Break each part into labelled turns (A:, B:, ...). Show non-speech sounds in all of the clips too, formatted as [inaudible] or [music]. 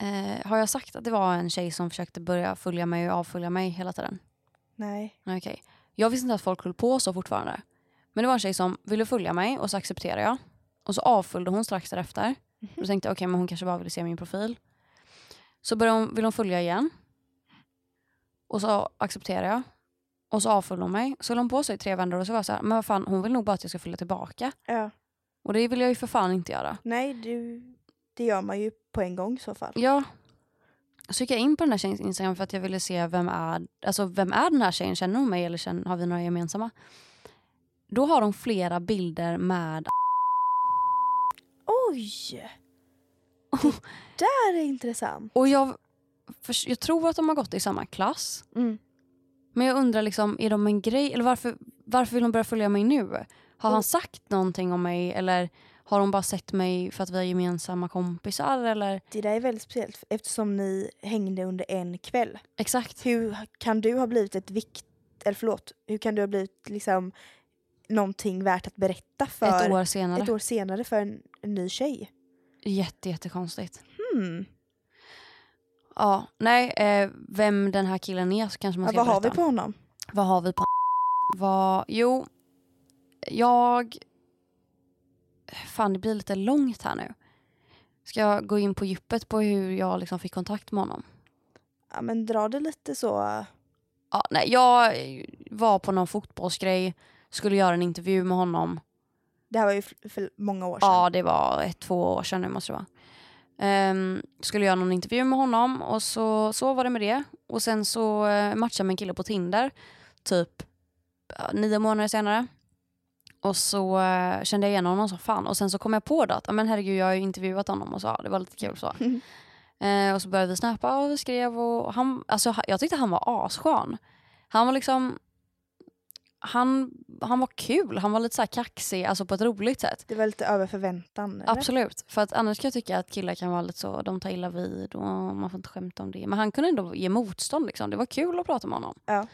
A: Eh, har jag sagt att det var en tjej som försökte börja följa mig och avfölja mig hela tiden?
B: Nej.
A: Nej, Okej. Jag visste inte att folk höll på så fortfarande. Men det var en tjej som ville följa mig och så accepterade jag. Och så avföljde hon strax därefter. Då tänkte jag okej, men hon kanske bara ville se min profil. Så började hon, ville hon följa igen. Och så accepterade jag. Och så avföljde hon mig. Så höll hon på sig i tre vändor och så var jag så här, men vad fan, hon vill nog bara att jag ska följa tillbaka.
B: Ja.
A: Och det vill jag ju för fan inte göra.
B: Nej, du, det gör man ju på en gång i så fall.
A: Ja. Så gick jag in på den här tjejens Instagram för att jag ville se vem är, alltså vem är den här tjejen, känner hon mig eller känner, har vi några gemensamma? Då har de flera bilder med
B: Oj! Det där är intressant.
A: och jag, förs- jag tror att de har gått i samma klass. Men jag undrar liksom, är de en grej eller varför, varför vill de börja följa mig nu? Har han sagt någonting om mig eller har de bara sett mig för att vi är gemensamma kompisar eller?
B: Det där är väldigt speciellt eftersom ni hängde under en kväll.
A: Exakt.
B: Hur kan du ha blivit ett vikt... Eller förlåt, hur kan du ha blivit liksom någonting värt att berätta för
A: Ett år senare.
B: ett år senare för en, en ny tjej?
A: Jätte, jättekonstigt. Mm.
B: Hmm.
A: Ja, nej, eh, vem den här killen är så kanske man
B: Ja,
A: ska
B: vad har
A: berätta.
B: vi på honom?
A: Vad har vi på vad, Jo, jag... Fan, det blir lite långt här nu. Ska jag gå in på djupet på hur jag liksom fick kontakt med honom?
B: Ja, men dra det lite så...
A: Ja, nej, jag var på någon fotbollsgrej, skulle göra en intervju med honom.
B: Det här var ju för, för många år sedan.
A: Ja, det var ett, två år sedan nu måste det vara. Ehm, skulle göra någon intervju med honom och så, så var det med det. Och sen så eh, matchade jag med en kille på Tinder typ ja, nio månader senare. Och så eh, kände jag igen honom som fan. Och sen så kom jag på då att "Ah, men herregud jag har ju intervjuat honom och så, ja, det var lite kul så.
B: Mm.
A: [laughs] Eh, och så började vi snappa och vi skrev och han, alltså, ha- jag tyckte han var asskön. Han var liksom, han, han var kul, han var lite så här kaxig, alltså på ett roligt sätt.
B: Det var lite över förväntan. eller?
A: Absolut, för att annars kan jag tycka att killar kan vara lite så, de tar illa vid och man får inte skämta om det. Men han kunde ändå ge motstånd liksom. Det var kul att prata med honom.
B: Ja.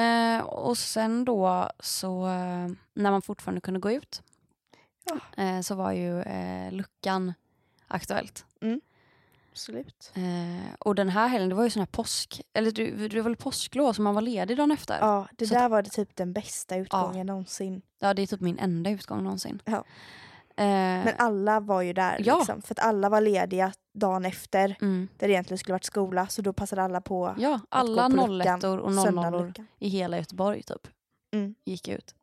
A: Eh, och sen då så, eh, när man fortfarande kunde gå ut, eh, så var ju eh, luckan aktuellt.
B: Absolut.
A: Eh, och den här helgen, det var ju sån här påsk, eller du, det var väl påsklov så man var ledig dagen efter.
B: Ja, det
A: Så
B: där var det typ den bästa utgången någonsin.
A: Ja, det är typ min enda utgång någonsin.
B: Ja.
A: Eh,
B: Men alla var ju där
A: Ja.
B: liksom, för att alla var lediga dagen efter
A: mm.
B: där det egentligen skulle varit skola så då passade alla på
A: Ja,
B: att gå
A: alla
B: på luckan,
A: nollettor och nollnollor
B: söndagsluckan.
A: i hela Göteborg typ.
B: Mm.
A: Gick ut.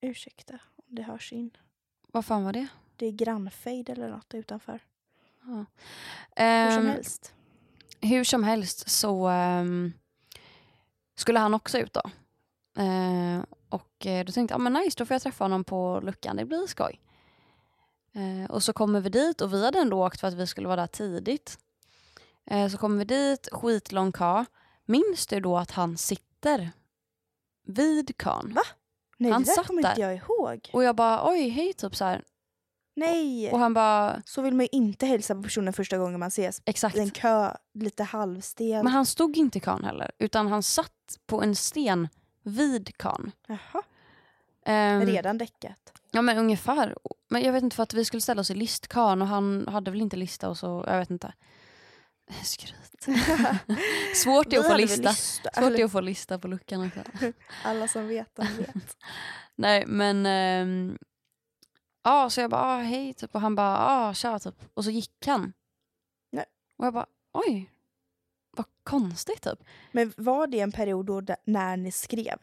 B: Ursäkta om det hörs in.
A: Vad fan var det?
B: Det är grannfejd eller något utanför. Hur
A: Ehm,
B: som helst.
A: hur som helst så ehm, skulle han också ut då. Eh, och eh, då tänkte jag, ah, men nice, då får jag träffa honom på luckan, det blir skoj. Eh, och så kommer vi dit och vi hade ändå åkt för att vi skulle vara där tidigt. Eh, så kommer vi dit, skitlång kö. Minns du då att han sitter vid kön?
B: Va? Nej,
A: han
B: det där
A: satt
B: kommer inte
A: där.
B: jag ihåg.
A: Och jag bara, oj, hej, typ så här.
B: Nej!
A: Och han bara,
B: Så vill man ju inte hälsa på personen första gången man ses.
A: exakt.
B: I en kö, lite halvstel.
A: Men han stod inte i kön heller, utan han satt på en sten vid kön.
B: Jaha,
A: Ehm,
B: redan däckat.
A: Ja men ungefär. Men jag vet inte för att vi skulle ställa oss i listkön och han hade väl inte lista och så, jag vet inte. Skryt. Svårt är att få lista. Svårt är att få lista på luckan också.
B: Alla som vet, de vet.
A: Nej men, ehm, ja så jag bara ah, hej typ och han bara ah, tja typ. Och så gick han.
B: Nej.
A: Och jag bara oj, vad konstigt typ.
B: Men var det en period då där- när ni skrev?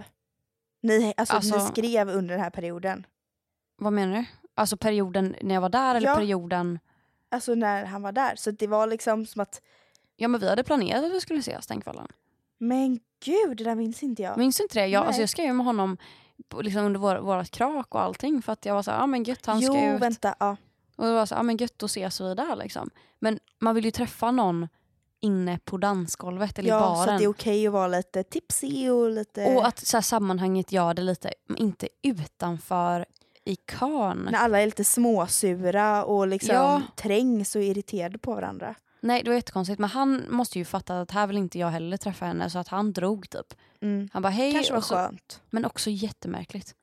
B: Ni, alltså, ni
A: Alltså-
B: skrev under den här perioden?
A: Vad menar du? Alltså perioden när jag var där eller
B: Ja.
A: perioden?
B: Alltså när han var där. Så det var liksom som att,
A: Ja men vi hade planerat att vi skulle ses den kvällen.
B: men gud, det där minns inte jag.
A: Minns inte det? Jag, alltså,
B: Nej.
A: jag skrev ju med honom på- liksom under vår, vårat krak och allting för att jag var så här, ah, men gött han
B: jo,
A: ska ut.
B: vänta. Ja.
A: Och det var så här, ah, men gött då ses vi där liksom. Men man vill ju träffa någon inne på dansgolvet eller i
B: ja, så att
A: baren. alltså,
B: det är okej att vara lite tipsy och lite...
A: Och att så här, sammanhanget gör det lite, men inte utanför i kön.
B: när alla är lite småsura och liksom
A: Ja.
B: trängs och irriterade på varandra.
A: Nej det var jättekonstigt men han måste ju fatta att här vill inte jag heller träffa henne så att han drog typ.
B: Mm.
A: Han bara hej alltså.
B: Kanske var
A: och så
B: skönt.
A: Men också jättemärkligt.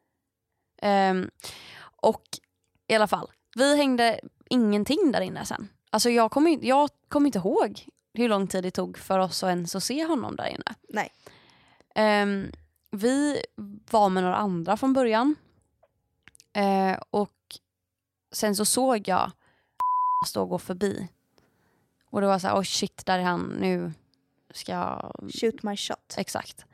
A: Ehm, och i alla fall, vi hängde ingenting där inne sen. Alltså jag kommer in- jag kommer inte ihåg hur lång tid det tog för oss att ens att se honom där inne.
B: Nej.
A: Ehm, vi var med några andra från början. Eh, och sen så såg jag [laughs] stå och gå förbi. Och det var så här, oh shit, där är han, nu ska jag...
B: Shoot my shot.
A: Exakt.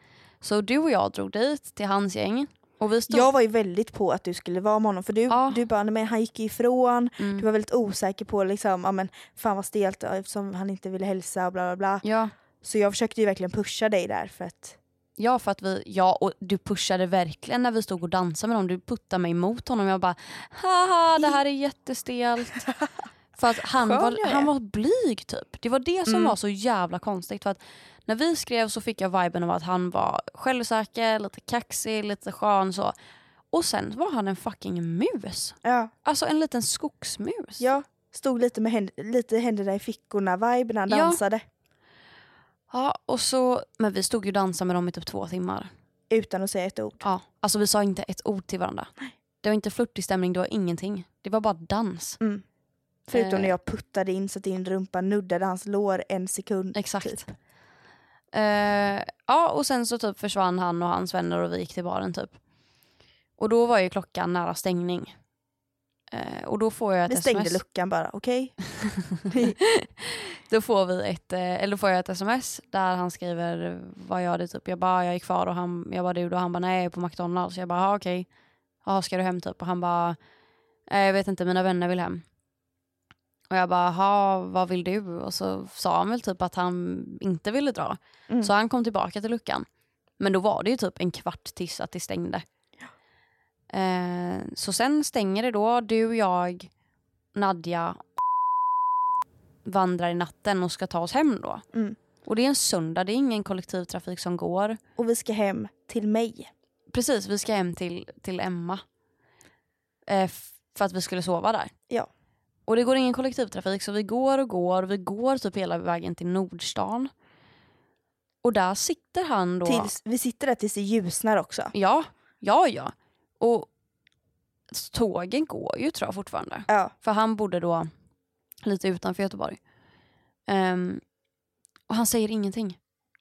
A: Så du och jag drog dit till hans gäng. Och vi stod...
B: Jag var ju väldigt på att du skulle vara med honom för du,
A: Ja.
B: du bara, "Nej, men han gick ifrån,
A: Mm.
B: du var väldigt osäker på liksom, ja men fan vad stelt ja, eftersom han inte ville hälsa och bla bla bla.
A: Ja.
B: Så jag försökte ju verkligen pusha dig där för att
A: Ja, för att vi, ja, och du pushade verkligen när vi stod och dansade med dem. Du puttade mig mot honom. Jag bara, haha det här är jättestelt. för att han
B: Skön
A: var,
B: jag är.
A: han var blyg typ. Det var det som
B: Mm.
A: var så jävla konstigt. För att när vi skrev så fick jag viben av att han var självsäker, lite kaxig, lite skön så. Och sen var han en fucking mus.
B: ja,
A: Alltså en liten skogsmus.
B: jag stod lite med händ, lite händerna i fickorna vibe när han
A: Ja.
B: dansade
A: Ja, och så, men vi stod ju och dansade med dem i typ två timmar.
B: utan att säga ett ord.
A: Ja, alltså vi sa inte ett ord till varandra. Det var inte flörtig stämning, det var ingenting. Det var bara dans.
B: Mm. Förutom
A: Eh.
B: när jag puttade in så att din rumpa nuddade hans lår en sekund.
A: Exakt.
B: typ.
A: Eh, ja, och sen så typ försvann han och hans vänner och vi gick till baren typ. Och då var ju klockan nära stängning. Eh, och då får jag ett
B: Vi stängde
A: sms.
B: luckan bara, okej?
A: då får vi ett, eh, eller då får jag ett sms där han skriver vad gör du typ. Jag bara jag är kvar och han, jag bara du då? Han bara nej jag är på McDonalds. Jag bara "Ah, okej. Ja ska du hem typ? Och han bara "Eh, jag vet inte mina vänner vill hem. Och jag bara "Jaha, vad vill du? Och så sa han väl typ att han inte ville dra.
B: Mm.
A: Så han kom tillbaka till luckan. Men då var det ju typ en kvart tills att det stängde. Eh, så sen stänger det då. Du, jag, Nadja vandrar i natten och ska ta oss hem då.
B: Mm.
A: Och det är en söndag, det är ingen kollektivtrafik som går.
B: Och vi ska hem till mig.
A: Precis, vi ska hem till, till Emma. Eh, f- för att vi skulle sova där.
B: Ja.
A: Och det går ingen kollektivtrafik så vi går och går. Vi går typ hela vägen till Nordstan. Och där sitter han då.
B: Tills, vi sitter där tills det ljusnar också.
A: Ja, ja, ja. Och tågen går ju tror jag fortfarande.
B: Ja.
A: För han bodde då lite utanför Göteborg. Ehm, och han säger ingenting.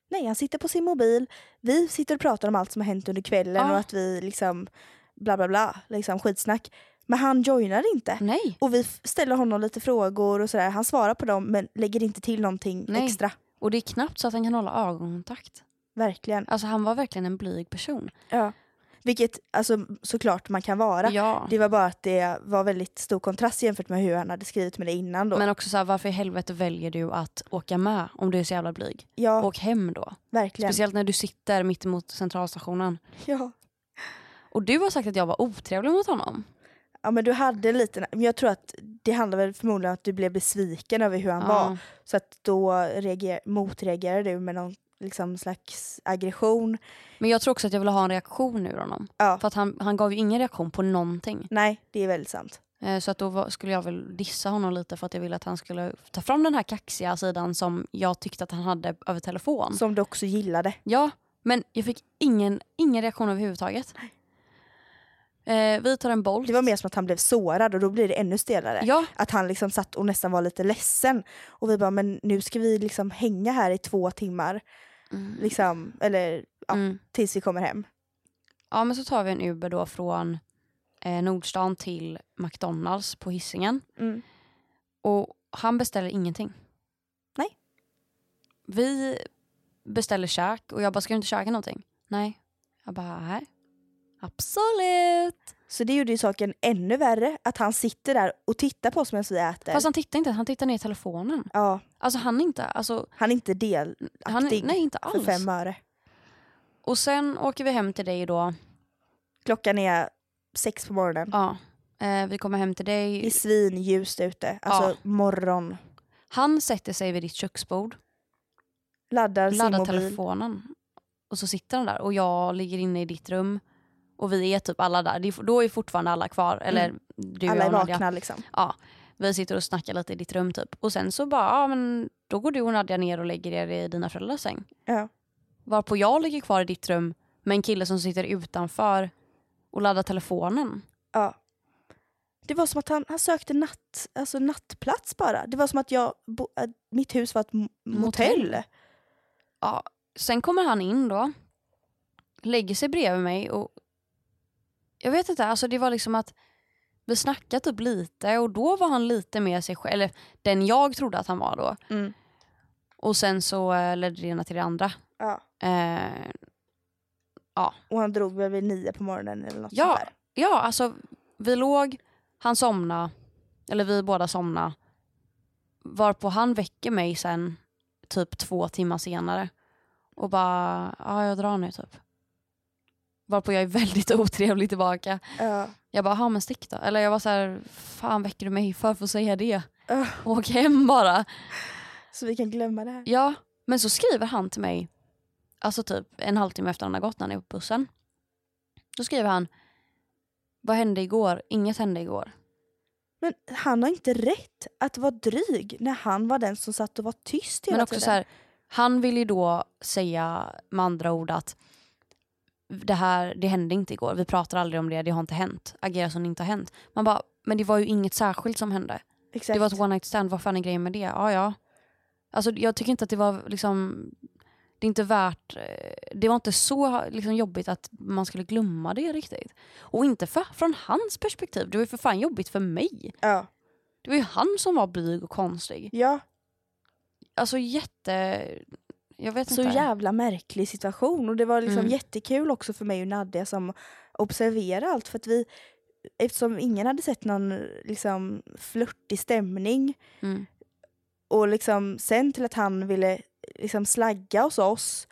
B: Nej, han sitter på sin mobil. Vi sitter och pratar om allt som har hänt under kvällen
A: Ja.
B: och att vi liksom bla bla bla, liksom skitsnack. Men han joinar inte.
A: Nej.
B: Och vi f- ställer honom lite frågor och sådär. Han svarar på dem men lägger inte till någonting
A: Nej.
B: extra.
A: Och det är knappt så att han kan hålla ögonkontakt.
B: Verkligen.
A: Alltså han var verkligen en blyg person.
B: Ja. Vilket alltså, såklart man kan vara.
A: Ja.
B: Det var bara att det var väldigt stor kontrast jämfört med hur han hade skrivit med det innan då.
A: Men också så här, varför i helvete väljer du att åka med om du är så jävla blyg?
B: ja,
A: Åk hem då.
B: verkligen.
A: Speciellt när du sitter mitt emot centralstationen.
B: Ja.
A: Och du har sagt att jag var otrevlig mot honom.
B: ja, men du hade en liten... Men jag tror att det handlar väl förmodligen om att du blev besviken över hur han var.
A: Ja.
B: Så att då reager, motreagerar du med någon liksom slags aggression.
A: Men jag tror också att jag ville ha en reaktion ur honom.
B: Ja,
A: För att han, han gav ju ingen reaktion på någonting.
B: nej det är väldigt sant.
A: Eh, Så att då var, skulle jag väl dissa honom lite för att jag ville att han skulle ta fram den här kaxiga sidan som jag tyckte att han hade över telefon.
B: Som du också gillade.
A: Ja, men jag fick ingen, ingen reaktion överhuvudtaget. Eh, vi tar en boll.
B: Det var mer som att han blev sårad och då blir det ännu stelare.
A: Ja,
B: Att han liksom satt och nästan var lite ledsen. Och vi bara, men nu ska vi liksom hänga här i två timmar. Liksom, eller ja,
A: Mm.
B: tills vi kommer hem.
A: ja, men så tar vi en Uber då från eh, Nordstan till McDonalds på Hisingen.
B: Mm.
A: Och han beställer ingenting.
B: Nej.
A: Vi beställer käk och jag bara, ska du inte käka någonting? Nej. Jag bara, nej. Absolut.
B: Så det gjorde ju saken ännu värre, att han sitter där och tittar på oss medan vi äter.
A: Fast han tittar inte, han tittar ner i telefonen.
B: Ja,
A: Alltså han är inte, alltså,
B: han är inte delaktig
A: han, nej inte
B: för
A: alls.
B: fem öre.
A: Och sen åker vi hem till dig då.
B: Klockan är sex på morgonen.
A: Ja. Eh, vi kommer hem till
B: Det är
A: dig.
B: svinljust ute, alltså morgon.
A: Han sätter sig vid ditt köksbord,
B: Laddar sin
A: laddar
B: mobil.
A: telefonen. Och så sitter han där och jag ligger inne i ditt rum. Och vi är typ alla där. Det är, då är fortfarande alla kvar. Eller du
B: Mm. Alla är
A: och Nadja.
B: vakna liksom.
A: Vi sitter och snackar lite i ditt rum typ. Och sen så bara, ja men då går du och Nadja ner och lägger er i dina föräldrars säng.
B: Ja.
A: Varpå jag ligger kvar i ditt rum med en kille som sitter utanför och laddar telefonen.
B: Ja. Det var som att han, han sökte natt, alltså nattplats bara. Det var som att jag bo, att mitt hus var ett m-
A: Motell.
B: motell.
A: Ja, sen kommer han in då. Lägger sig bredvid mig och jag vet inte, alltså det var liksom att vi snackade typ lite och då var han lite mer sig själv, eller den jag trodde att han var då.
B: Mm.
A: Och sen så eh, ledde det ena till det andra.
B: Ja.
A: Eh,
B: Och han drog väl vid nio på morgonen eller något
A: Ja.
B: sånt där.
A: ja, alltså vi låg, han somna eller vi båda somna varpå han väcker mig sen typ två timmar senare och bara, ja jag drar nu typ. Varpå jag är [laughs] väldigt otrevlig tillbaka.
B: Ja.
A: Jag bara, ja men stick då. Eller jag var så här, fan väcker du mig för för att säga det?
B: Öh,
A: Åk hem bara.
B: Så vi kan glömma det här.
A: Ja, men så skriver han till mig, alltså typ en halvtimme efter han har gått när han är på bussen. Då skriver han, vad hände igår? Inget hände igår.
B: Men han har inte rätt att vara dryg när han var den som satt och var tyst hela
A: Men också
B: tiden.
A: så här, han vill ju då säga med andra ord att det här, det hände inte igår, vi pratar aldrig om det, det har inte hänt. Agera som det inte har hänt. Man bara, men det var ju inget särskilt som hände.
B: Exakt.
A: Det var ett one night stand, vad fan är grejen med det? Ja, ja. Alltså jag tycker inte att det var liksom, det är inte värt, eh, det var inte så liksom, jobbigt att man skulle glömma det riktigt. Och inte för, från hans perspektiv, det var ju för fan jobbigt för mig.
B: ja.
A: Det var ju han som var blyg och konstig.
B: ja,
A: Alltså jätte, jag vet
B: så
A: inte.
B: jävla märklig situation och det var liksom
A: Mm.
B: jättekul också för mig och Nadja som observerade allt för att vi eftersom ingen hade sett någon liksom flörtig stämning
A: Mm.
B: och liksom sen till att han ville liksom slagga hos oss,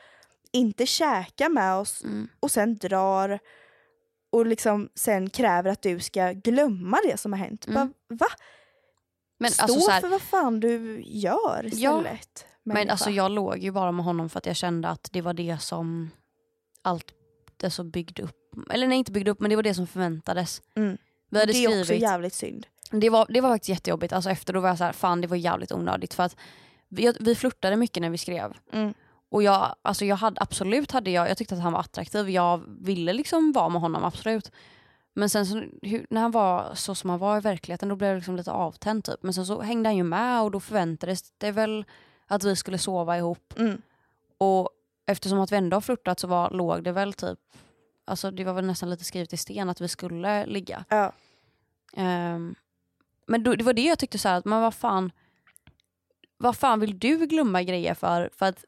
B: inte käka med oss
A: Mm.
B: och sen drar och liksom sen kräver att du ska glömma det som har hänt.
A: Mm.
B: Bara, va?
A: Men,
B: Stå
A: alltså, så här,
B: för vad fan du gör istället.
A: men
B: människa.
A: alltså jag låg ju bara med honom för att jag kände att det var det som allt det som byggde upp, eller nej inte byggde upp men det var det som förväntades.
B: Mm.
A: Vi hade
B: det är också
A: skrivit
B: jävligt synd.
A: Det var, det var faktiskt jättejobbigt. Alltså efter då var jag så här, fan det var jävligt onödigt. För att vi, vi flörtade mycket när vi skrev.
B: Mm.
A: Och jag, alltså jag hade absolut, hade jag, jag tyckte att han var attraktiv. Jag ville liksom vara med honom, absolut. Men sen så, hur, när han var så som han var i verkligheten då blev jag liksom lite avtänd typ. Men sen så hängde han ju med och då förväntades det väl att vi skulle sova ihop.
B: Mm.
A: Och eftersom att vi ändå har flörtat så var, låg det väl typ, alltså det var väl nästan lite skrivet i sten att vi skulle ligga.
B: Ja.
A: Ehm, men då, det var det jag tyckte så här att men vad fan vad fan vill du glömma grejer för? För att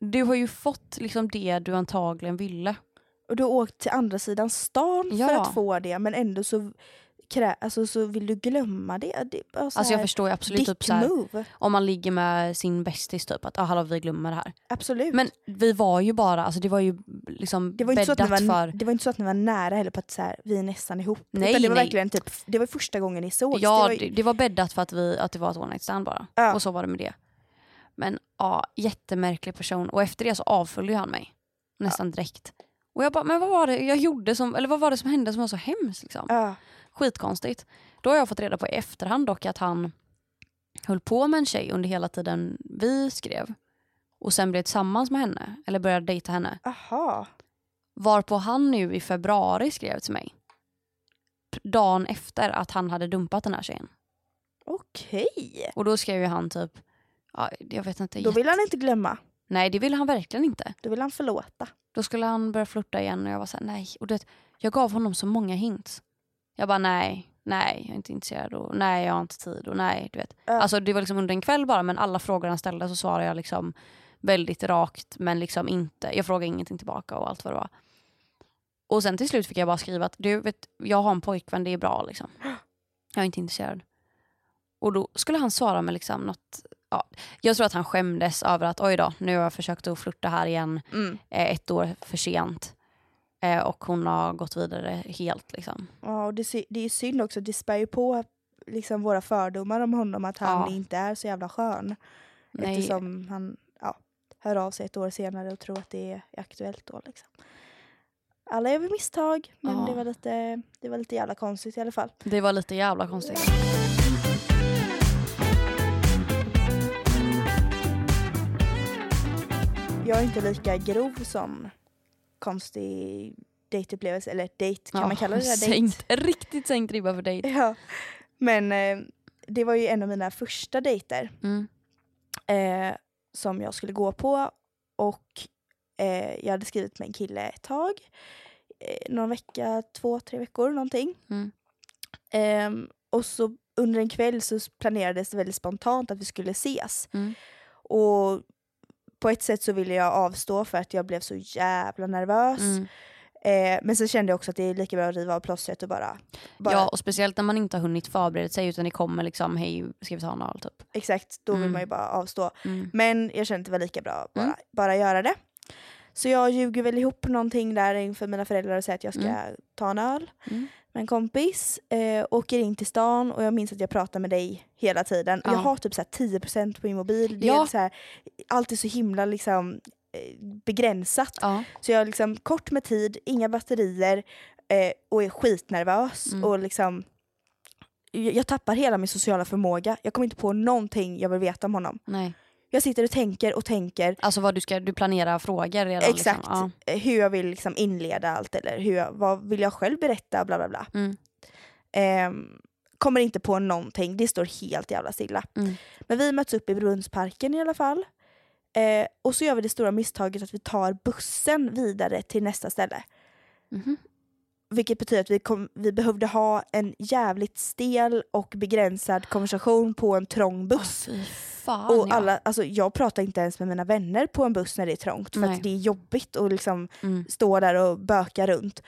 A: du har ju fått liksom det du antagligen ville.
B: Och du har åkt till andra sidan stan för
A: Ja.
B: att få det men ändå så, krä- alltså, så vill du glömma det. det är bara så
A: Alltså jag
B: här,
A: förstår ju absolut
B: dick
A: typ så här,
B: move.
A: om man ligger med sin bästis typ att ah, hallå vi glömmer det här.
B: Absolut.
A: Men vi var ju bara, alltså det var ju liksom
B: det var, inte så
A: bäddat
B: att ni var,
A: för.
B: det var inte så att ni var nära heller på att så här, vi är nästan ihop.
A: Nej,
B: Utan det var
A: nej.
B: verkligen typ, det var första gången ni sågs. det
A: Ja
B: var, ju-
A: det, det var bäddat för att, vi, att det var ett one night stand bara.
B: Ja.
A: Och så var det med det. Men ja, jättemärklig person. Och efter det så avföljde ju han mig. Nästan direkt. Och jag bara, men vad var det jag gjorde som, eller vad var det som hände som var så hemskt liksom?
B: ja,
A: Skitkonstigt. Då har jag fått reda på i efterhand dock att han höll på med en tjej under hela tiden vi skrev. Och sen blev tillsammans med henne, eller började dejta henne.
B: aha.
A: Varpå han nu i februari skrev till mig. P- Dagen efter att han hade dumpat den här tjejen.
B: Okej.
A: Och då skrev ju han typ, ja, jag vet inte.
B: Då
A: jätte-
B: vill han inte glömma.
A: Nej det ville han verkligen inte.
B: Då vill han förlåta.
A: Då skulle han börja flirta igen och jag var såhär nej. Och du vet, jag gav honom så många hints. Jag bara nej, nej jag är inte intresserad och nej jag har inte tid och nej du vet.
B: Ja.
A: Alltså det var liksom under en kväll bara men alla frågor han ställde så svarade jag liksom väldigt rakt men liksom inte, jag frågade ingenting tillbaka och allt vad det var. Och sen till slut fick jag bara skriva att du vet, jag har en pojkvän, det är bra liksom. Jag är inte intresserad. Och då skulle han svara med liksom något, ja. jag tror att han skämdes över att oj då, nu har jag försökt att flirta här igen
B: Mm.
A: eh, ett år för sent. Eh, och hon har gått vidare helt liksom.
B: Ja, och det, sy- det är synd också, det spär ju på liksom, våra fördomar om honom att han
A: Ja.
B: inte är så jävla skön.
A: Nej,
B: Eftersom han ja, hör av sig ett år senare och tror att det är aktuellt då. Liksom. Alla gör väl misstag, men
A: Ja.
B: det, var lite, det var lite jävla konstigt i alla fall.
A: det var lite jävla konstigt.
B: Jag är inte lika grov som konstig dejtupplevelse, eller dejt, kan
A: Ja,
B: man kalla det där dejt?
A: [laughs]
B: Eh,
A: sänkt, Riktigt sänkt ribba för dejt.
B: [laughs] Ja. Men eh, det var ju en av mina första dejter
A: Mm.
B: eh, som jag skulle gå på och eh, jag hade skrivit med en kille ett tag. Eh, någon vecka, två, tre veckor någonting.
A: Mm.
B: Ehm, och så under en kväll så planerades det väldigt spontant att vi skulle ses.
A: Mm.
B: Och på ett sätt så ville jag avstå för att jag blev så jävla nervös.
A: Mm.
B: Eh, men sen kände jag också att det är lika bra att riva av plåstret och bara... bara
A: Ja och speciellt när man inte har hunnit förbereda sig utan det kommer liksom hej ska vi ta en öl typ.
B: Exakt, då vill
A: Mm.
B: man ju bara avstå.
A: Mm.
B: Men jag kände att det var lika bra att bara,
A: Mm.
B: bara göra det. Så jag ljuger väl ihop någonting där inför mina föräldrar och säger att jag ska ta en öl
A: Mm.
B: med en kompis. Eh, åker in till stan och jag minns att jag pratar med dig hela tiden. Och
A: Ja.
B: Jag har typ så här 10% på min mobil. Det
A: Ja.
B: är så här, allt är så himla liksom, eh, begränsat.
A: Ja.
B: Så jag är liksom kort med tid, inga batterier eh, och är skitnervös.
A: Mm.
B: Och liksom, jag, jag tappar hela min sociala förmåga. Jag kommer inte på någonting jag vill veta om honom.
A: Nej.
B: Jag sitter och tänker och tänker
A: Alltså vad du ska, du planerar frågor redan
B: Exakt.
A: liksom. Ja.
B: eh, hur jag vill liksom inleda allt eller hur jag, vad vill jag själv berätta bla bla bla.
A: Mm.
B: Ehm, kommer inte på någonting, det står helt jävla stilla.
A: Mm.
B: Men vi möts upp i Brunnsparken i alla fall. Eh, och så gör vi det stora misstaget att vi tar bussen vidare till nästa ställe.
A: Mhm.
B: Vilket betyder att vi, kom, vi behövde ha en jävligt stel och begränsad konversation på en trång
A: Åh,
B: buss.
A: fy fan
B: Och
A: ja.
B: alla, alltså jag pratar inte ens med mina vänner på en buss när det är trångt för
A: Nej.
B: att det är jobbigt och liksom
A: Mm.
B: stå där och böka runt.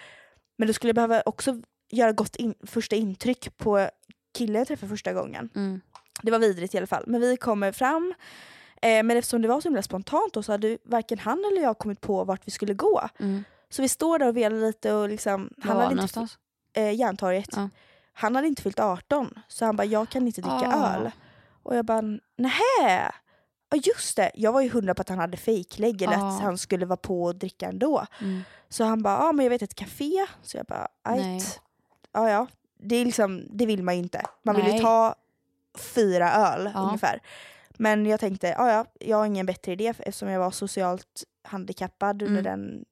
B: Men då skulle jag behöva också göra gott in, första intryck på killen jag träffade första gången.
A: Mm.
B: Det var vidrigt i alla fall. Men vi kommer fram. Eh, men eftersom det var så himla spontant då så hade varken han eller jag kommit på vart vi skulle gå.
A: Mm.
B: Så vi står där och velar lite och liksom...
A: Var
B: Han
A: var
B: hade
A: det
B: inte,
A: någonstans?
B: eh, Järntorget.
A: Ja.
B: Han hade inte fyllt 18 så han bara jag kan inte dricka
A: Ah.
B: öl. Och jag bara nähä! Ja just det, jag var ju hundra på att han hade fejklägg eller
A: Ah.
B: att han skulle vara på och dricka ändå.
A: Mm.
B: Så han bara, ja men jag vet ett café. Så jag bara,
A: Nej.
B: ajt. Ja ja, det, är liksom, det vill man ju inte. Man vill
A: Nej.
B: ju ta fyra öl
A: Ja.
B: ungefär. Men jag tänkte, "Ah, ja ja, jag har ingen bättre idé eftersom jag var socialt handikappad under
A: Mm.
B: den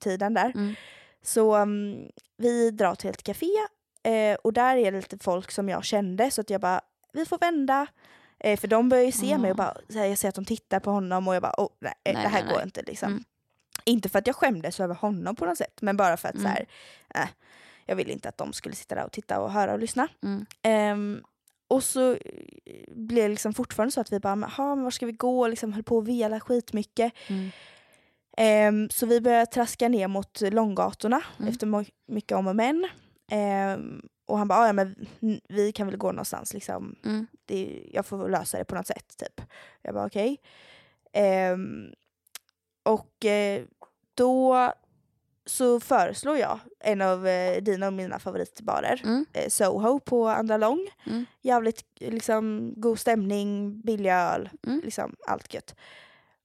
B: tiden där.
A: Mm.
B: Så mm, vi drar till ett café eh, och där är det lite folk som jag kände så att jag bara, vi får vända. Eh, för de börjar ju se
A: Ah.
B: mig och bara, så här, jag ser att de tittar på honom och jag bara, oh, nej,
A: Nej,
B: det här
A: nej,
B: går
A: nej.
B: inte liksom.
A: Mm.
B: Inte för att jag skämdes över honom på något sätt men bara för att
A: Mm.
B: så här, eh, jag ville inte att de skulle sitta där och titta och höra och lyssna.
A: Mm.
B: Ehm, och så eh, blev det liksom fortfarande så att vi bara, men, "Ha, men var ska vi gå? Liksom höll på att vela skitmycket.
A: Mm.
B: Ehm, så vi började traska ner mot långgatorna
A: Mm.
B: efter mo- mycket om och men. Ehm, och han bara, "Ah, ja men n- vi kan väl gå någonstans liksom.
A: Mm.
B: Det, jag får väl lösa det på något sätt typ. Jag bara okej. Ehm, och eh, då så föreslår jag en av eh, dina och mina favoritbarer,
A: Mm.
B: eh, Soho på Andra Lång.
A: Mm.
B: Jävligt liksom, god stämning, billig öl,
A: Mm.
B: liksom allt gött.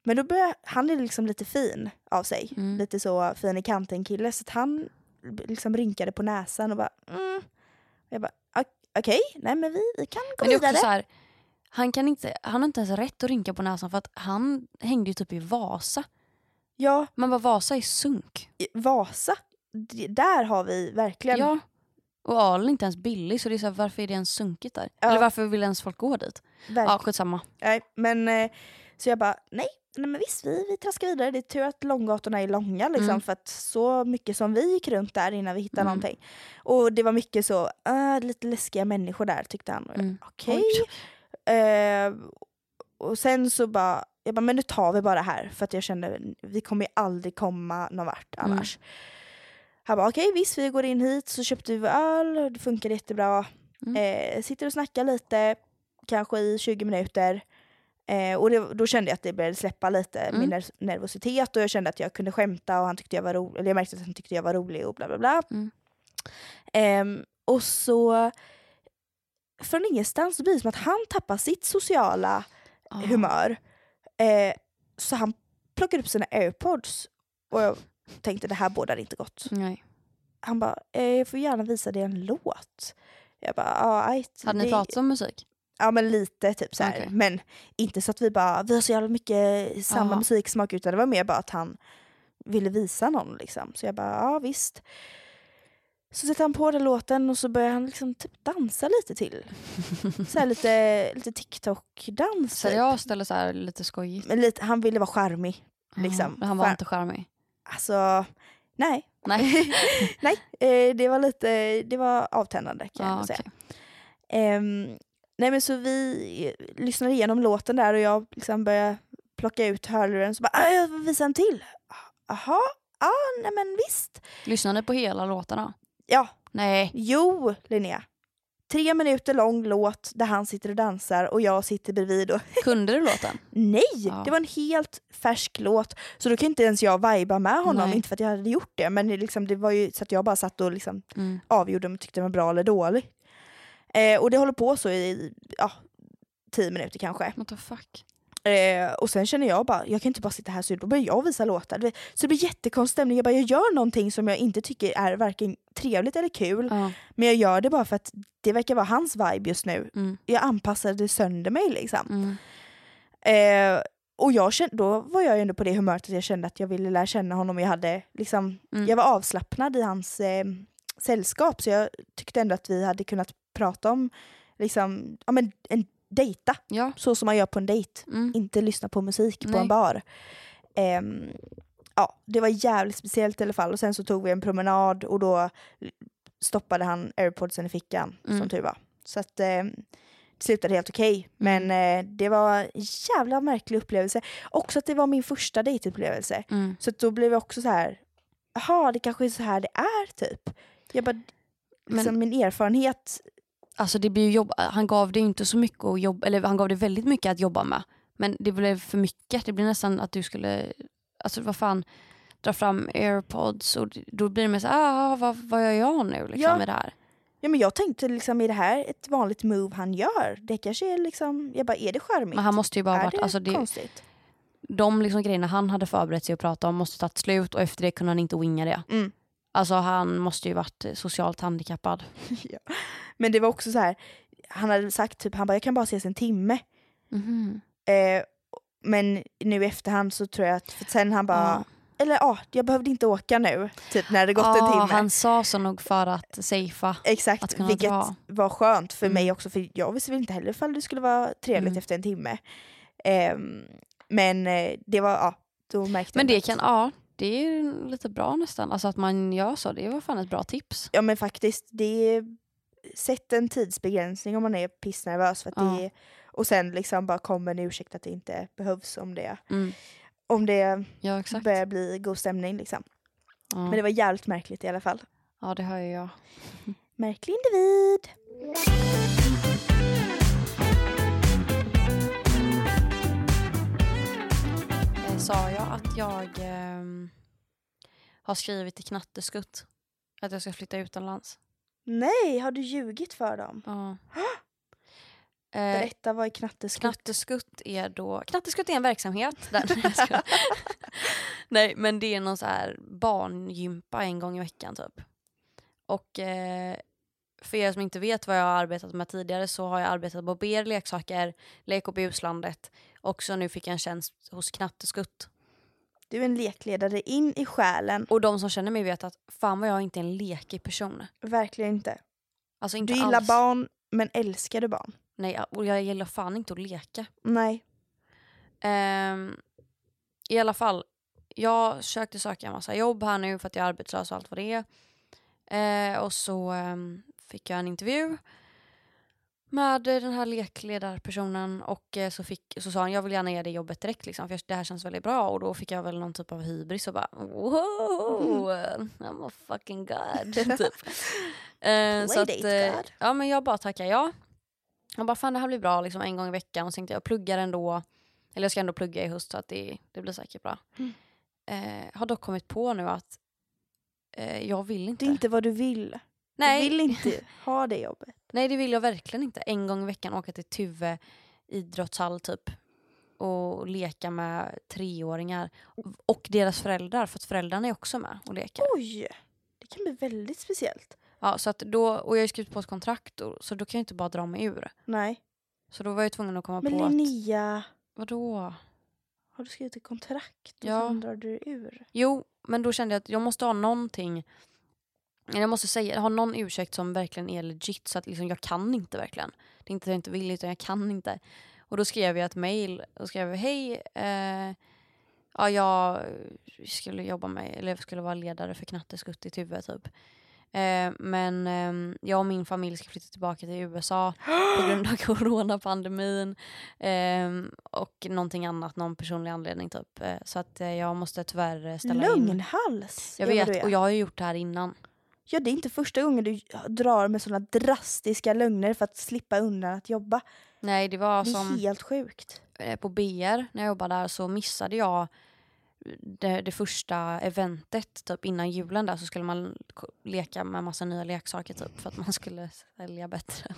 B: Men då börjar, han är liksom lite fin av sig.
A: Mm.
B: Lite så fin i kanten kille. Så att han b- liksom rynkade på näsan och bara mm. Jag bara "Ok- okej, nej men vi, vi kan gå
A: Men det är
B: vidare.
A: också så här, han, kan inte, han har inte ens rätt att rynka på näsan för att han hängde ju typ i Vasa.
B: Ja,
A: Man bara Vasa är sunk.
B: i- Vasa. D- där har vi verkligen.
A: Ja. Och ölen är inte ens billig så det är så här, varför är det ens sunkigt där?
B: Ja.
A: Eller varför vill ens folk gå dit?
B: verk-
A: Ja skitsamma.
B: Nej, men eh, så jag bara nej, nej men visst vi, vi traskar vidare. Det är tur att långgatorna är långa liksom
A: Mm.
B: för att så mycket som vi gick runt där innan vi hittade
A: Mm.
B: någonting. Och det var mycket så, "Ah, lite läskiga människor där tyckte han. Och jag,
A: Mm.
B: Okej.
A: Oj.
B: Eh, och sen så bara, jag bara, men nu tar vi bara här för att jag kände vi kommer ju aldrig komma någon vart
A: Mm.
B: annars. Han bara okej visst vi går in hit så köpte vi öl och det funkade jättebra.
A: Mm.
B: Eh, sitter och snackar lite, kanske i 20 minuter. Eh, och det, då kände jag att det började släppa lite,
A: Mm.
B: min ner- nervositet och jag kände att jag kunde skämta och han tyckte jag var rolig, eller jag märkte att han tyckte jag var rolig och bla bla bla.
A: Mm.
B: Ehm, och så från ingenstans så blir det som att han tappar sitt sociala
A: Ja.
B: humör. Eh, så han plockar upp sina airpods och jag tänkte det här bådar inte gott.
A: Nej.
B: Han bara, eh, jag får gärna visa dig en låt. Jag bara, ja ajt.
A: Hade ni
B: det- Typ.
A: pratat om musik?
B: Ja men lite typ så här.
A: Okej.
B: Men inte så att vi bara, vi har så jävla mycket samma
A: Ja.
B: musiksmak utan det var mer bara att han ville visa någon liksom. Så jag bara, ja visst. Så sätter han på den låten och så börjar han liksom typ dansa lite till. Så här lite, lite TikTok-dans. typ.
A: Seriöst eller så här lite skojigt?
B: Men lite, han ville vara charmig. Liksom.
A: Ja, Han var
B: Fan.
A: inte
B: [laughs]
A: charmig.
B: Alltså, nej.
A: Nej.
B: nej, eh, det var lite, det var avtändande kan jag
A: ja,
B: ändå säga.
A: okej.
B: Ehm, nej men så vi eh, lyssnade igenom låten där och jag liksom började plocka ut hörluren så bara "Ah, jag vill visa en till. Jaha, ja nej men visst.
A: Lyssnade ni på hela låtarna?
B: Ja,
A: Nej.
B: jo Linnea. Tre minuter lång låt där han sitter och dansar och jag sitter bredvid och
A: Kunde du
B: [laughs]
A: låten?
B: nej,
A: Ja.
B: det var en helt färsk låt. Så då kan inte ens jag vibea med honom,
A: Nej.
B: inte för att jag hade gjort det men det, liksom, det var ju så att jag bara satt och liksom
A: Mm.
B: avgjorde om jag tyckte den var bra eller dålig. Eh, och det håller på så i ja, tio minuter kanske.
A: What the fuck?
B: Eh, och sen känner jag bara, jag kan inte bara sitta här och se ut. då börjar jag visa låtar. Du vet. Så det blir jättekonstig stämning. Jag bara, jag gör någonting som jag inte tycker är varken trevligt eller kul.
A: Ja.
B: Men jag gör det bara för att det verkar vara hans vibe just nu.
A: Mm.
B: Jag anpassade sönder mig liksom.
A: Mm.
B: Eh, och jag kände, då var jag ju ändå på det humöret att jag kände att jag ville lära känna honom. Jag, hade, liksom,
A: Mm.
B: jag var avslappnad i hans eh, sällskap så jag tyckte ändå att vi hade kunnat prata om liksom, ja, men en dejta,
A: Ja.
B: så som man gör på en dejt.
A: Mm.
B: Inte lyssna på musik på
A: Nej.
B: en bar. Ehm, ja, det var jävligt speciellt i alla fall och sen så tog vi en promenad och då stoppade han airpodsen i fickan
A: Mm.
B: som tur var. Så att eh, det slutade helt okej.
A: Mm.
B: Men eh, det var en jävla märklig upplevelse. Också att det var min första dejtupplevelse.
A: Mm.
B: Så att då blev jag också så här, jaha det kanske är så här det är typ. Jag bara,
A: Men-
B: liksom, min erfarenhet
A: Alltså det blir ju jobb... Han gav det ju inte så mycket att jobba... Eller han gav det väldigt mycket att jobba med. Men det blev för mycket. Det blev nästan att du skulle... Alltså vad fan. Dra fram airpods och då blir det mer såhär, ah, vad, vad gör jag nu liksom
B: Ja.
A: med det här?
B: Ja men jag tänkte liksom är det här ett vanligt move han gör? Det kanske är liksom, jag bara är det charmigt?
A: Men han måste ju bara ha
B: är
A: varit,
B: det
A: alltså det,
B: konstigt?
A: de liksom grejerna han hade förberett sig att prata om måste tagit slut och efter det kunde han inte winga det.
B: Mm.
A: Alltså han måste ju varit eh, socialt handikappad.
B: ja. Men det var också så här, han hade sagt typ, han bara jag kan bara ses en timme. Eh, men nu i efterhand så tror jag att, för sen han bara, eller ja, jag behövde inte åka nu. Typ när det gått en
A: Ja,
B: timme.
A: Ah, han sa så nog för att safea. att
B: Exakt,
A: kunna
B: vilket
A: dra.
B: var skönt för
A: Mm.
B: mig också för jag visste väl inte heller ifall det skulle vara trevligt
A: Mm.
B: efter en timme. Ehm, men eh, det var, ja, då märkte
A: Men
B: jag
A: det
B: att-
A: kan, ja, det är ju lite bra nästan. Alltså att man gör så, det var fan ett bra tips.
B: Ja men faktiskt, det är, sätt en tidsbegränsning om man är pissnervös. För att det
A: Ja.
B: är, och sen liksom bara kom med en ursäkt att det inte behövs om det,
A: Mm.
B: om det
A: Ja exakt.
B: börjar bli god stämning. Liksom.
A: Ja.
B: Men det var jävligt märkligt i alla fall.
A: ja det hör ju jag.
B: Märklig individ!
A: Eh, Sa jag att jag ehm, har skrivit till Knatteskutt att jag ska flytta utomlands?
B: Nej, har du ljugit för dem? [gasps]
A: Ja. Eh,
B: Berätta, vad är knatteskutt?
A: Knatteskutt är då... Knatteskutt är en verksamhet. [laughs] Där, Nej, jag skojar. Nej men det är någon så här barngympa en gång i veckan typ. Och eh, för er som inte vet vad jag har arbetat med tidigare så har jag arbetat på BR Leksaker, Lek och Buslandet och så nu fick jag en tjänst hos Knatteskutt.
B: Du är en lekledare in i själen.
A: Och de som känner mig vet att fan vad jag inte är en lekig person.
B: Verkligen inte.
A: Alltså inte
B: Du gillar
A: alls.
B: barn, men älskar du barn?
A: Nej och jag gillar fan inte att leka.
B: Nej.
A: Ehm, I alla fall, jag försökte söka en massa jobb här nu för att jag är arbetslös och allt vad det är. Eh, och så ehm, fick jag en intervju med eh, den här lekledarpersonen och eh, så, fick, så sa han jag vill gärna ge dig jobbet direkt liksom, för jag- det här känns väldigt bra och då fick jag väl någon typ av hybris och bara wow, [laughs] I'm a fucking god. [laughs] [laughs] typ. Eh, så att,
B: Playdate
A: eh,
B: god.
A: ja men jag bara tackar ja. Jag bara fan det här blir bra liksom en gång i veckan och så tänkte jag jag pluggar ändå. Eller jag ska ändå plugga i höst så att det, det blir säkert bra.
B: Mm.
A: Eh, har dock kommit på nu att eh, jag vill
B: [laughs] Det
A: inte.
B: är inte vad du vill.
A: nej,
B: Du vill
A: [laughs]
B: inte ha det jobbet.
A: nej det vill jag verkligen inte. En gång i veckan åka till Tuve idrottshall typ. Och leka med treåringar. Och deras föräldrar för att föräldrarna är också med och leker.
B: Oj! Det kan bli väldigt speciellt.
A: Ja, så att då, och jag har ju skrivit på ett kontrakt och, så då kan jag inte bara dra mig ur.
B: Nej.
A: Så då var jag ju tvungen att komma
B: Men
A: på att,
B: Linnea,
A: vadå?
B: har du skrivit ett kontrakt? Och
A: Ja.
B: sen drar du ur?
A: Jo, Men då kände jag att jag måste ha någonting, jag måste säga, ha någon ursäkt som verkligen är legit så att liksom jag kan inte verkligen. Det är inte att jag inte vill utan jag kan inte. Och då skrev jag ett mail och skrev jag, hej, eh, ja jag skulle jobba med, eller jag skulle vara ledare för Knatteskutt i Tuve typ. Eh, men ehm, jag och min familj ska flytta tillbaka till USA på grund av coronapandemin ehm, och någonting annat, någon personlig anledning typ. Eh, så att eh, jag måste tyvärr eh, ställa in.
B: Lögnhals!
A: Jag
B: är vad du
A: vet,
B: är.
A: och jag har ju gjort det här innan.
B: Ja, det är inte första gången du drar med sådana drastiska lögner för att slippa undan att jobba.
A: Nej, det var
B: Det
A: som
B: är helt sjukt.
A: eh, på BR när jag jobbade där så missade jag eh, det, det första eventet typ innan julen där så skulle man ko- leka med massa nya leksaker typ för att man [laughs] skulle sälja bättre.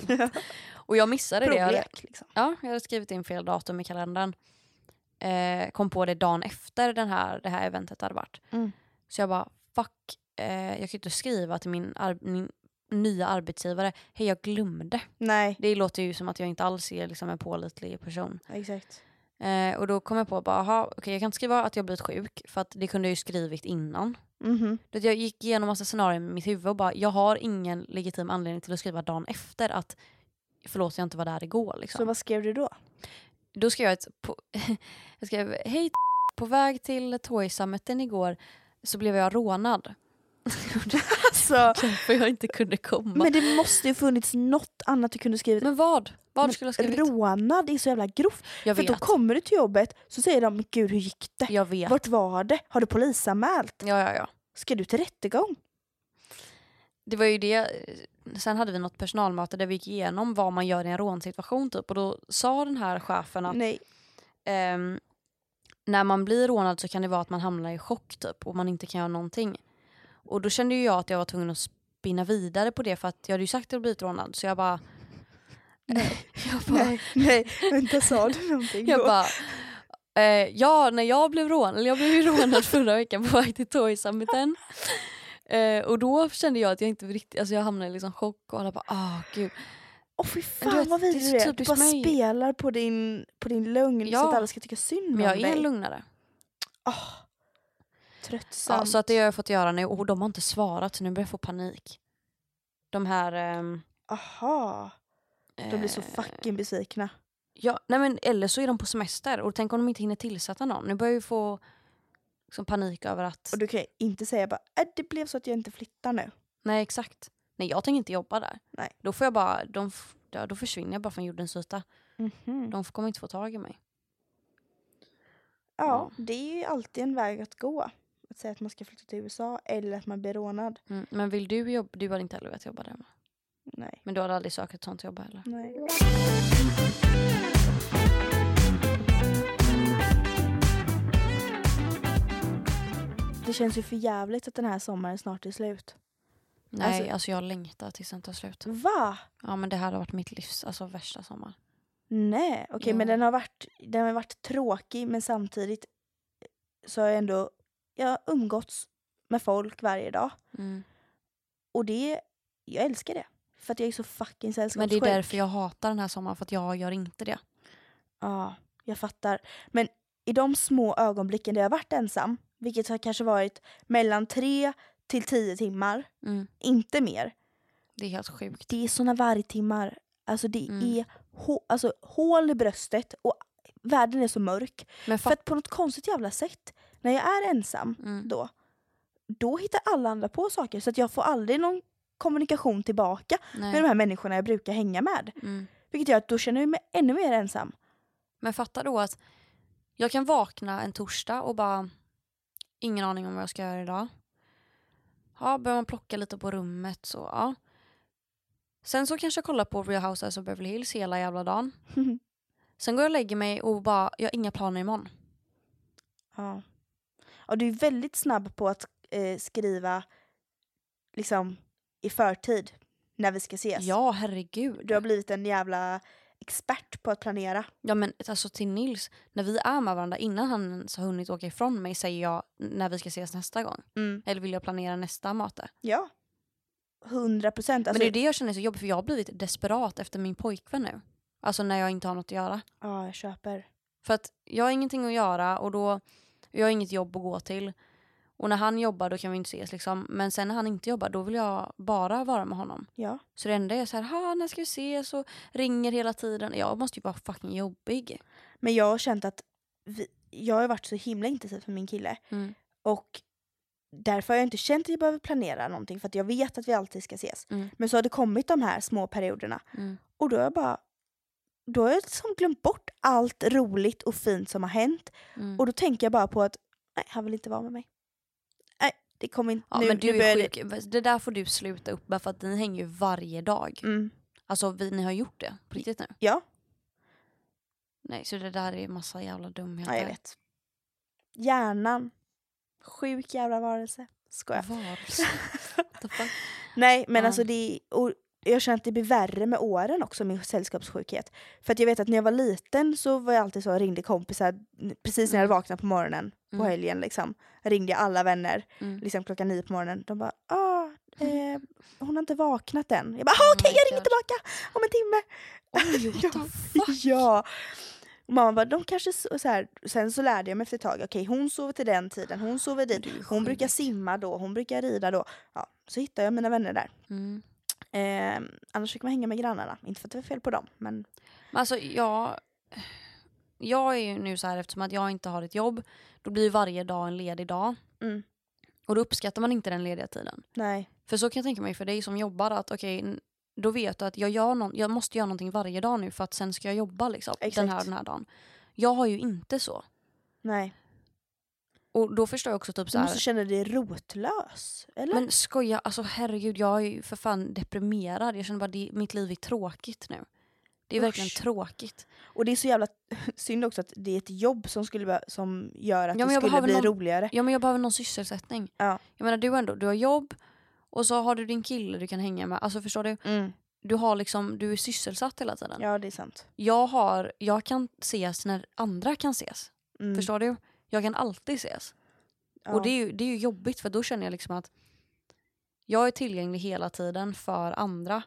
A: och jag missade det. Jag,
B: Provlek liksom.
A: ja, jag hade skrivit in fel datum i kalendern. Eh, kom på det dagen efter den här, det här eventet hade varit.
B: Mm.
A: Så jag bara fuck, eh, jag kan ju inte skriva till min, ar- min nya arbetsgivare, hej jag glömde.
B: Nej,
A: Det låter ju som att jag inte alls är liksom, en pålitlig person.
B: exakt.
A: Eh, och då kom jag på bara, aha, okej jag kan inte skriva att jag blivit sjuk för att det kunde jag ju skrivit innan.
B: Mhm.
A: Du vet, Jag gick igenom massa scenarier i mitt huvud och bara, jag har ingen legitim anledning till att skriva dagen efter att förlåt jag inte var där igår. Liksom.
B: Så vad skrev
A: [laughs]
B: du då?
A: Då skrev jag ett... På, [laughs] jag skrev hej [laughs] t- på väg till Toy Summiten igår så blev jag rånad. [laughs]
B: Alltså,
A: För jag inte kunde komma. Men,
B: men det måste ju funnits något annat du kunde skrivit.
A: vad? Vad
B: Men
A: skulle jag skrivit?
B: Rånad är så jävla grovt.
A: jag
B: För
A: vet.
B: då kommer du till jobbet så säger de "Men “Gud, hur gick det?
A: jag vet.
B: Vart var det? Har du polisanmält?
A: Ja, ja, ja.
B: Ska du till rättegång?”
A: Det var ju det. Sen hade vi något personalmöte där vi gick igenom vad man gör i en rånsituation typ. Och då sa den här chefen att
B: Nej.
A: ehm, när man blir rånad så kan det vara att man hamnar i chock typ och man inte kan göra någonting. Och då kände ju jag att jag var tvungen att spinna vidare på det för att jag hade ju sagt att jag blivit rånad så jag bara... [laughs] jag bara,
B: Nej, nej, vänta sa du någonting
A: jag
B: då?
A: bara eh, ja, när jag blev rånad, eller jag blev ju [laughs] rånad förra veckan på väg till Toy Summiten. Eh, och då kände jag att jag inte riktigt, alltså jag hamnade i liksom chock och alla bara ah gud.
B: Åh fy
A: du
B: fan
A: vet,
B: vad
A: det är
B: vidrig
A: så
B: du är. Du
A: typiskt
B: bara
A: mig.
B: spelar på din, på din lögn så
A: Ja.
B: att alla ska tycka synd om
A: Men jag
B: dig.
A: är en lugnare.
B: Tröttsam.
A: Ja, så att det har jag fått göra nu och de har inte svarat så nu börjar jag få panik. De här... ehm,
B: Aha, de blir så
A: eh,
B: fucking besvikna.
A: Ja, nej men, eller så är de på semester och tänk om de inte hinner tillsätta någon. Nu börjar jag ju få liksom, panik över att...
B: Och du kan ju inte säga bara äh, det blev så att jag inte flyttar nu.
A: Nej exakt. Nej jag tänker inte jobba där.
B: Nej.
A: Då får jag bara... De, f- ja, då försvinner jag bara från jordens yta. De f- kommer inte få tag i mig.
B: Ja, det är ju alltid en väg att gå. Att säga att man ska flytta till USA eller att man blir rånad.
A: Mm. Men vill du jobba? Du hade inte heller velat jobba där va?
B: Nej.
A: Men du hade aldrig sökt ett sånt jobb heller.
B: Nej. Det känns ju för jävligt att den här sommaren snart är slut.
A: Nej alltså,
B: Alltså-
A: jag längtar tills den tar slut.
B: Va?
A: Ja men det här har varit mitt livs alltså, värsta sommar.
B: Nej, okej men
A: Jo.
B: den har, varit, den har varit tråkig men samtidigt så har jag ändå jag har umgåtts med folk varje dag.
A: Mm.
B: Och det, jag älskar det. För att jag är så fucking
A: Men
B: sällskapssjuk.
A: det är därför jag hatar den här sommaren för att jag gör inte det.
B: Ja, jag fattar. Men i de små ögonblicken där jag har varit ensam, vilket har kanske varit mellan tre till tio timmar,
A: Mm.
B: inte mer.
A: Det är helt sjukt.
B: Det är såna vargtimmar. Alltså det
A: Mm.
B: är hå- alltså, hål i bröstet och världen är så mörk.
A: Men
B: För
A: fatt...
B: att på något konstigt jävla sätt, när jag är ensam
A: Mm.
B: då, då hittar alla andra på saker så att jag får aldrig någon kommunikation tillbaka
A: Nej.
B: med de här människorna jag brukar hänga med.
A: Mm.
B: Vilket gör att då känner jag mig ännu mer ensam.
A: Men fatta då att jag kan vakna en torsdag och bara ingen aning om vad jag ska göra idag. Ja, börjar man plocka lite på rummet så ja. Sen så kanske jag kollar på Real Housewives of Beverly Hills hela jävla dagen. Sen går jag och lägger mig och bara, jag har inga planer imorgon.
B: ja. ja, du är väldigt snabb på att eh, skriva liksom i förtid när vi ska ses.
A: Ja, herregud.
B: Du har blivit en jävla expert på att planera.
A: Ja men alltså till Nils, när vi är med varandra innan han ens har hunnit åka ifrån mig säger jag när vi ska ses nästa gång. Eller vill jag planera nästa möte?
B: Ja. 100 procent.
A: men
B: Alltså,
A: det är det jag känner är så jobbigt för jag har blivit desperat efter min pojkvän nu. Alltså när jag inte har något att göra.
B: Ja, jag köper.
A: För att jag har ingenting att göra och då jag har inget jobb att gå till. Och när han jobbar då kan vi inte ses liksom. Men sen när han inte jobbar då vill jag bara vara med honom.
B: Ja.
A: Så det enda är så här, ha när ska vi ses och ringer hela tiden. Jag måste ju vara fucking jobbig.
B: Men jag har känt att vi, jag har varit så himla intensiv för min kille.
A: Mm.
B: Och därför har jag inte känt att jag behöver planera någonting för att jag vet att vi alltid ska ses.
A: Mm.
B: Men så har det kommit de här små perioderna
A: Mm.
B: och då har jag bara då har jag liksom glömt bort allt roligt och fint som har hänt.
A: Mm.
B: Och då tänker jag bara på att nej, han vill inte vara med mig. Nej, det kommer inte.
A: Ja,
B: nu,
A: men du
B: nu börjar
A: är
B: det-
A: sjuk. Det där får du sluta upp med för att ni hänger ju varje dag.
B: Mm.
A: Alltså vi, ni har gjort det på riktigt nu.
B: Ja.
A: Nej så det där är massa jävla dumheter.
B: Ja, jag vet. Hjärnan. Sjuk jävla varelse. Skojar.
A: Varelse. What the fuck?
B: Nej, men
A: Ja.
B: alltså det och jag känner att det blir värre med åren också, min sällskapssjukhet. För att jag vet att när jag var liten så var jag alltid så, jag ringde kompisar n- precis när jag hade vaknat på morgonen på
A: Mm.
B: helgen liksom. Ringde jag alla vänner,
A: Mm.
B: liksom klockan nio på morgonen. De bara ah, eh, hon har inte vaknat än. Jag bara ah, okej,
A: Oh my
B: jag ringer
A: God.
B: tillbaka om en timme.
A: [laughs] Oj what
B: Ja,
A: the fuck.
B: Ja. Och Mamma bara, de kanske so- så här. Sen så lärde jag mig efter ett tag, okej hon sover till den tiden, hon sover dit,
A: Du är
B: hon brukar
A: sjuk.
B: simma då, hon brukar rida då. Ja, så hittar jag mina vänner där.
A: Mm.
B: Eh, annars fick man hänga med grannarna, inte för att det var fel på dem. Men
A: Men alltså jag, jag är ju nu så här eftersom att jag inte har ett jobb, då blir varje dag en ledig dag.
B: Mm.
A: Och då uppskattar man inte den lediga tiden.
B: nej,
A: För så kan jag tänka mig för dig som jobbar att okej, n- då vet du att jag, gör någon, jag måste göra någonting varje dag nu för att sen ska jag jobba liksom, den här
B: Exakt.
A: och den här dagen. Jag har ju inte så.
B: nej.
A: Och då förstår jag också typ
B: Du
A: så här,
B: måste känna dig rotlös, eller?
A: men skoja, alltså herregud jag är ju för fan deprimerad. Jag känner bara det, mitt liv är tråkigt nu. Det är verkligen
B: Usch.
A: tråkigt.
B: och det är så jävla [laughs] synd också att det är ett jobb som, skulle, be- som gör att
A: Ja, men
B: det
A: jag
B: skulle
A: behöver
B: bli
A: någon-
B: roligare.
A: Ja men jag behöver någon sysselsättning.
B: Ja.
A: Jag menar du har ändå, du har jobb och så har du din kille du kan hänga med. Alltså förstår du?
B: Mm.
A: Du har liksom, du är sysselsatt hela tiden.
B: Ja, det är sant.
A: Jag har, jag kan ses när andra kan ses.
B: Mm.
A: Förstår du? Jag kan alltid ses.
B: ja.
A: Och det är, ju, det är ju jobbigt för då känner jag liksom att jag är tillgänglig hela tiden för andra.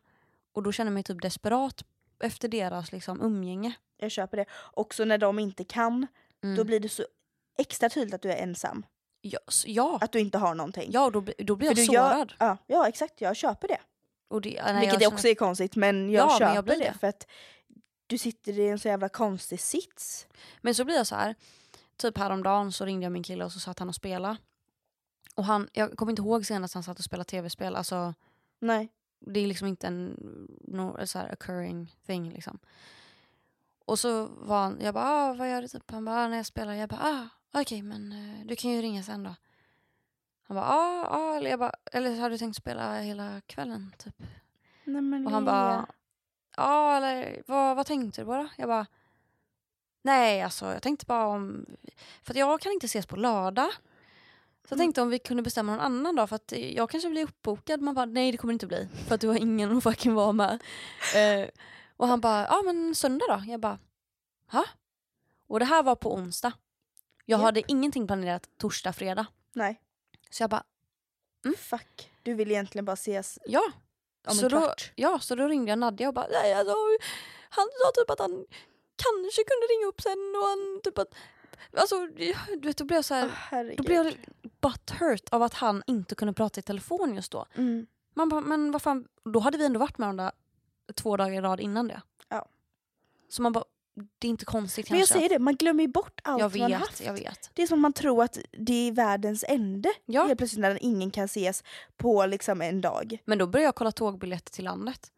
A: Och då känner jag mig typ desperat efter deras liksom umgänge.
B: Jag köper det. Också när de inte kan,
A: Mm.
B: då blir det så extra tydligt att du är ensam.
A: ja, s- ja,
B: Att du inte har någonting.
A: ja då, bli- då blir
B: För
A: jag
B: du gör-
A: sårad.
B: Ja, ja exakt, jag köper det.
A: Och det, nej,
B: Vilket
A: jag
B: det
A: känner-
B: också är konstigt men jag
A: Ja, men
B: köper
A: jag blir
B: det.
A: det.
B: för att du sitter i en så jävla konstig sits.
A: Men så blir jag så här. Typ häromdagen så ringde jag min kille och så satt han och spelade. Och han, jag kommer inte ihåg senast han satt och spelade tv-spel. Alltså,
B: Nej. det
A: det är liksom inte en no, så här occurring thing liksom. Och så var han, jag bara ah, vad gör du typ? Han bara ah, när jag spelar. Jag bara ah, okej men eh, du kan ju ringa sen då. Han bara ah, ah. Eller, jag bara, eller så har du tänkt spela hela kvällen typ?
B: Nej, men
A: Och han
B: Lea.
A: bara, ja eller vad, vad tänkte du på då? Jag bara, nej alltså jag tänkte bara om, för att jag kan inte ses på lördag. Så jag
B: Mm.
A: tänkte om vi kunde bestämma någon annan dag för att jag kanske blir uppbokad. Man bara, nej det kommer inte bli för att du har ingen att fucking vara med. Eh, och han bara, ja men söndag då? Jag bara, ha? Och det här var på onsdag. Jag
B: Japp.
A: hade ingenting planerat torsdag, fredag.
B: Nej,
A: Så jag bara,
B: fuck. Du vill egentligen bara ses
A: ja.
B: om
A: så
B: en
A: då,
B: kvart.
A: Ja, så då ringde jag Nadja och bara nej alltså, han sa typ att han kanske kunde ringa upp sen och han typ att alltså du vet då blev jag så
B: Åh,
A: här Äh,
B: herregud. Mm.
A: då blev jag butthurt av att han inte kunde prata i telefon just då.
B: Mm.
A: Man bara, men vad fan då hade vi ändå varit med varandra två dagar i rad innan det.
B: Ja.
A: Så man bara det är inte konstigt
B: Men jag
A: kanske.
B: säger det, man glömmer ju bort allt
A: jag
B: man har
A: vet,
B: haft.
A: jag vet.
B: Det är som att man tror att det är världens ände
A: Ja,
B: helt plötsligt när ingen kan ses på liksom en dag.
A: men då började jag kolla tågbiljetter till landet.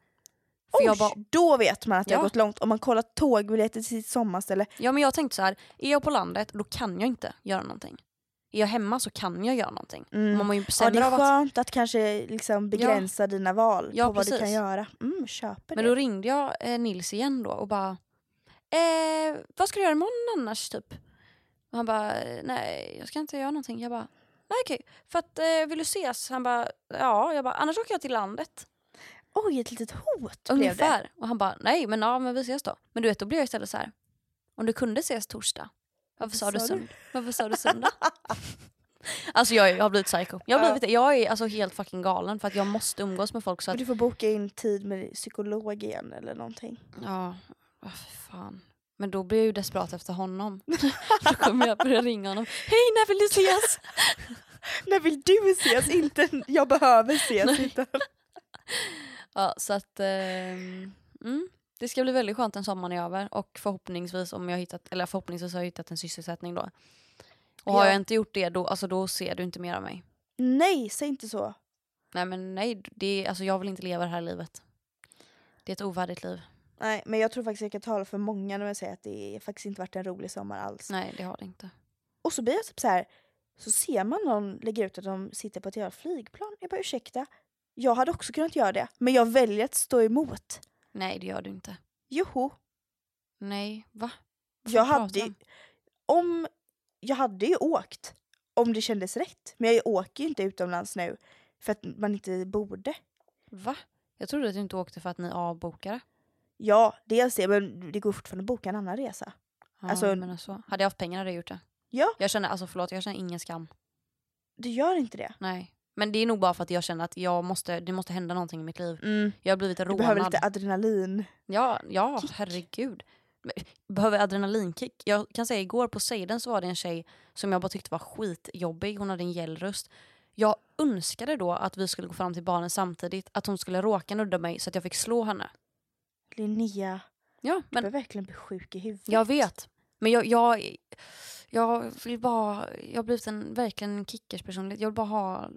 A: För
B: Oj,
A: jag bara,
B: då vet man att det har
A: Ja.
B: gått långt. Om man kollar tågbiljetter till sitt sommarställe.
A: Ja men jag tänkte så här, är jag på landet då kan jag inte göra någonting. Är jag hemma så kan jag göra någonting.
B: Mm.
A: Man mår ju
B: Ja, det
A: sämre
B: är
A: av att...
B: skönt att kanske liksom begränsa dina val
A: Ja,
B: på vad du
A: precis.
B: kan göra. Mm, köper
A: Men
B: det.
A: då ringde jag eh, Nils igen då och bara eh, Vad ska du göra imorgon annars typ? Och han bara nej jag ska inte göra någonting. Jag bara nej okej för att eh, vill du ses? Han bara ja jag bara annars åker jag till landet.
B: Oj, ett litet hot typ blev det.
A: Ungefär. Och han bara nej men ja men vi ses då. Men du vet då blev jag istället så här om du kunde ses torsdag varför sa du
B: Sa du?
A: söndag? Varför sa du söndag? [laughs] Alltså jag, är- jag har blivit psycho. Jag, har
B: Ja.
A: blivit, det. jag är alltså helt fucking galen för att jag måste umgås med folk så
B: Men
A: att...
B: Du får boka in tid med psykolog igen eller någonting.
A: Ja, oh, fan. Men då blir jag ju
B: [laughs]
A: desperat efter honom. då kommer jag börja ringa honom. Hej när vill du ses?
B: När vill du ses? Inte jag behöver ses.
A: Nej.
B: Inte.
A: Ja, så att... ehm, mm. Det ska bli väldigt skönt när sommaren är över och förhoppningsvis om jag har hittat, eller förhoppningsvis har jag hittat en sysselsättning då. Och har
B: Ja.
A: jag inte gjort det då, alltså då ser du inte mer av mig.
B: Nej, säg inte så.
A: Nej men nej, det, alltså jag vill inte leva det här livet. Det är ett ovärdigt liv.
B: Nej, men jag tror faktiskt jag kan tala för många när jag säger att det faktiskt inte varit en rolig sommar alls.
A: Nej det har det inte.
B: Och så blir jag typ så här. så ser man någon lägga ut att de sitter på ett jävla flygplan. Jag bara ursäkta, jag hade också kunnat göra det. Men jag väljer att stå emot.
A: Nej det gör du inte.
B: Joho,
A: Nej, va?
B: jag
A: pratar
B: hade ju,
A: om?
B: om, jag hade ju åkt om det kändes rätt. Men jag åker ju inte utomlands nu för att man inte borde.
A: Va? Jag trodde att du inte åkte för att ni avbokade.
B: Ja, dels det, men det går fortfarande att boka en annan resa.
A: Ja,
B: Alltså-
A: alltså, men alltså, hade jag haft pengar hade jag gjort det.
B: Ja.
A: Jag känner, alltså förlåt, jag känner ingen skam.
B: Du gör inte det.
A: Nej. Men det är nog bara för att jag känner att jag måste, det måste hända någonting i mitt liv. Jag har blivit
B: Du
A: rånad.
B: behöver lite adrenalin.
A: Ja, ja herregud. Men- Behöver adrenalinkick. Jag kan säga igår på Seiden så var det en tjej som jag bara tyckte var skitjobbig. Hon hade en gäll röst. Jag önskade då att vi skulle gå fram till barnen samtidigt. Att hon skulle råka nudda mig så att jag fick slå henne.
B: Linnea,
A: Ja,
B: du
A: men
B: är verkligen bli sjuk i huvudet.
A: jag vet. Men jag, jag, jag vill bara... Jag har blivit en verkligen kickerspersonlighet. Jag vill bara ha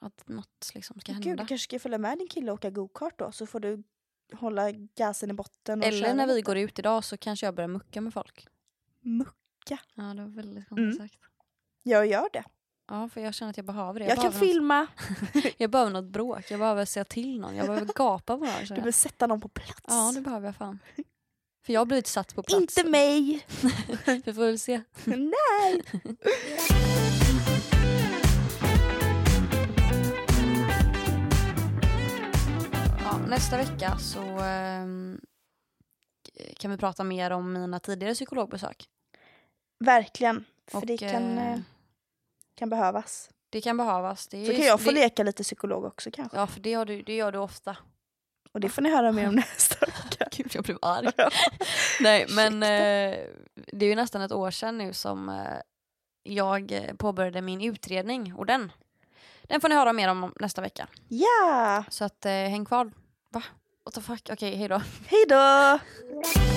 A: att något liksom ska
B: Gud, du
A: hända.
B: kanske ska följa med din kille och åka go-kart då så får du hålla gasen i botten. Och
A: Eller
B: köra
A: när vi
B: lite.
A: går ut idag så kanske jag börjar mucka med folk.
B: Muck.
A: Ja, det var väldigt
B: Mm.
A: konstigt sagt.
B: Jag gör det.
A: Ja, för jag känner att jag behöver det.
B: Jag, kan
A: behöver någon-
B: filma.
A: Jag behöver något bråk, jag behöver säga till någon, jag behöver gapa på
B: [laughs]
A: någon.
B: Du
A: känner
B: behöver
A: jag.
B: sätta någon på plats.
A: Ja, det behöver jag fan. För jag har blivit satt på plats.
B: Inte mig!
A: Vi får väl se.
B: Nej!
A: [laughs] Ja, nästa vecka så ehm, kan vi prata mer om mina tidigare psykologbesök.
B: Verkligen. För
A: Och,
B: det kan,
A: eh,
B: eh, kan behövas.
A: det kan behövas. Det är
B: Så
A: ju-
B: kan jag få
A: det,
B: leka lite psykolog också kanske.
A: Ja, för det, har du, det gör du ofta.
B: Och det får ni höra mer om nästa vecka.
A: [laughs] Gud, jag blev arg. Nej, men eh, det är ju nästan ett år sedan nu som eh, jag eh, påbörjade min utredning och den, den får ni höra mer om nästa vecka.
B: Ja!
A: Så att eh, häng kvar. Va? What the fuck? Okej, hej då.
B: Hej då!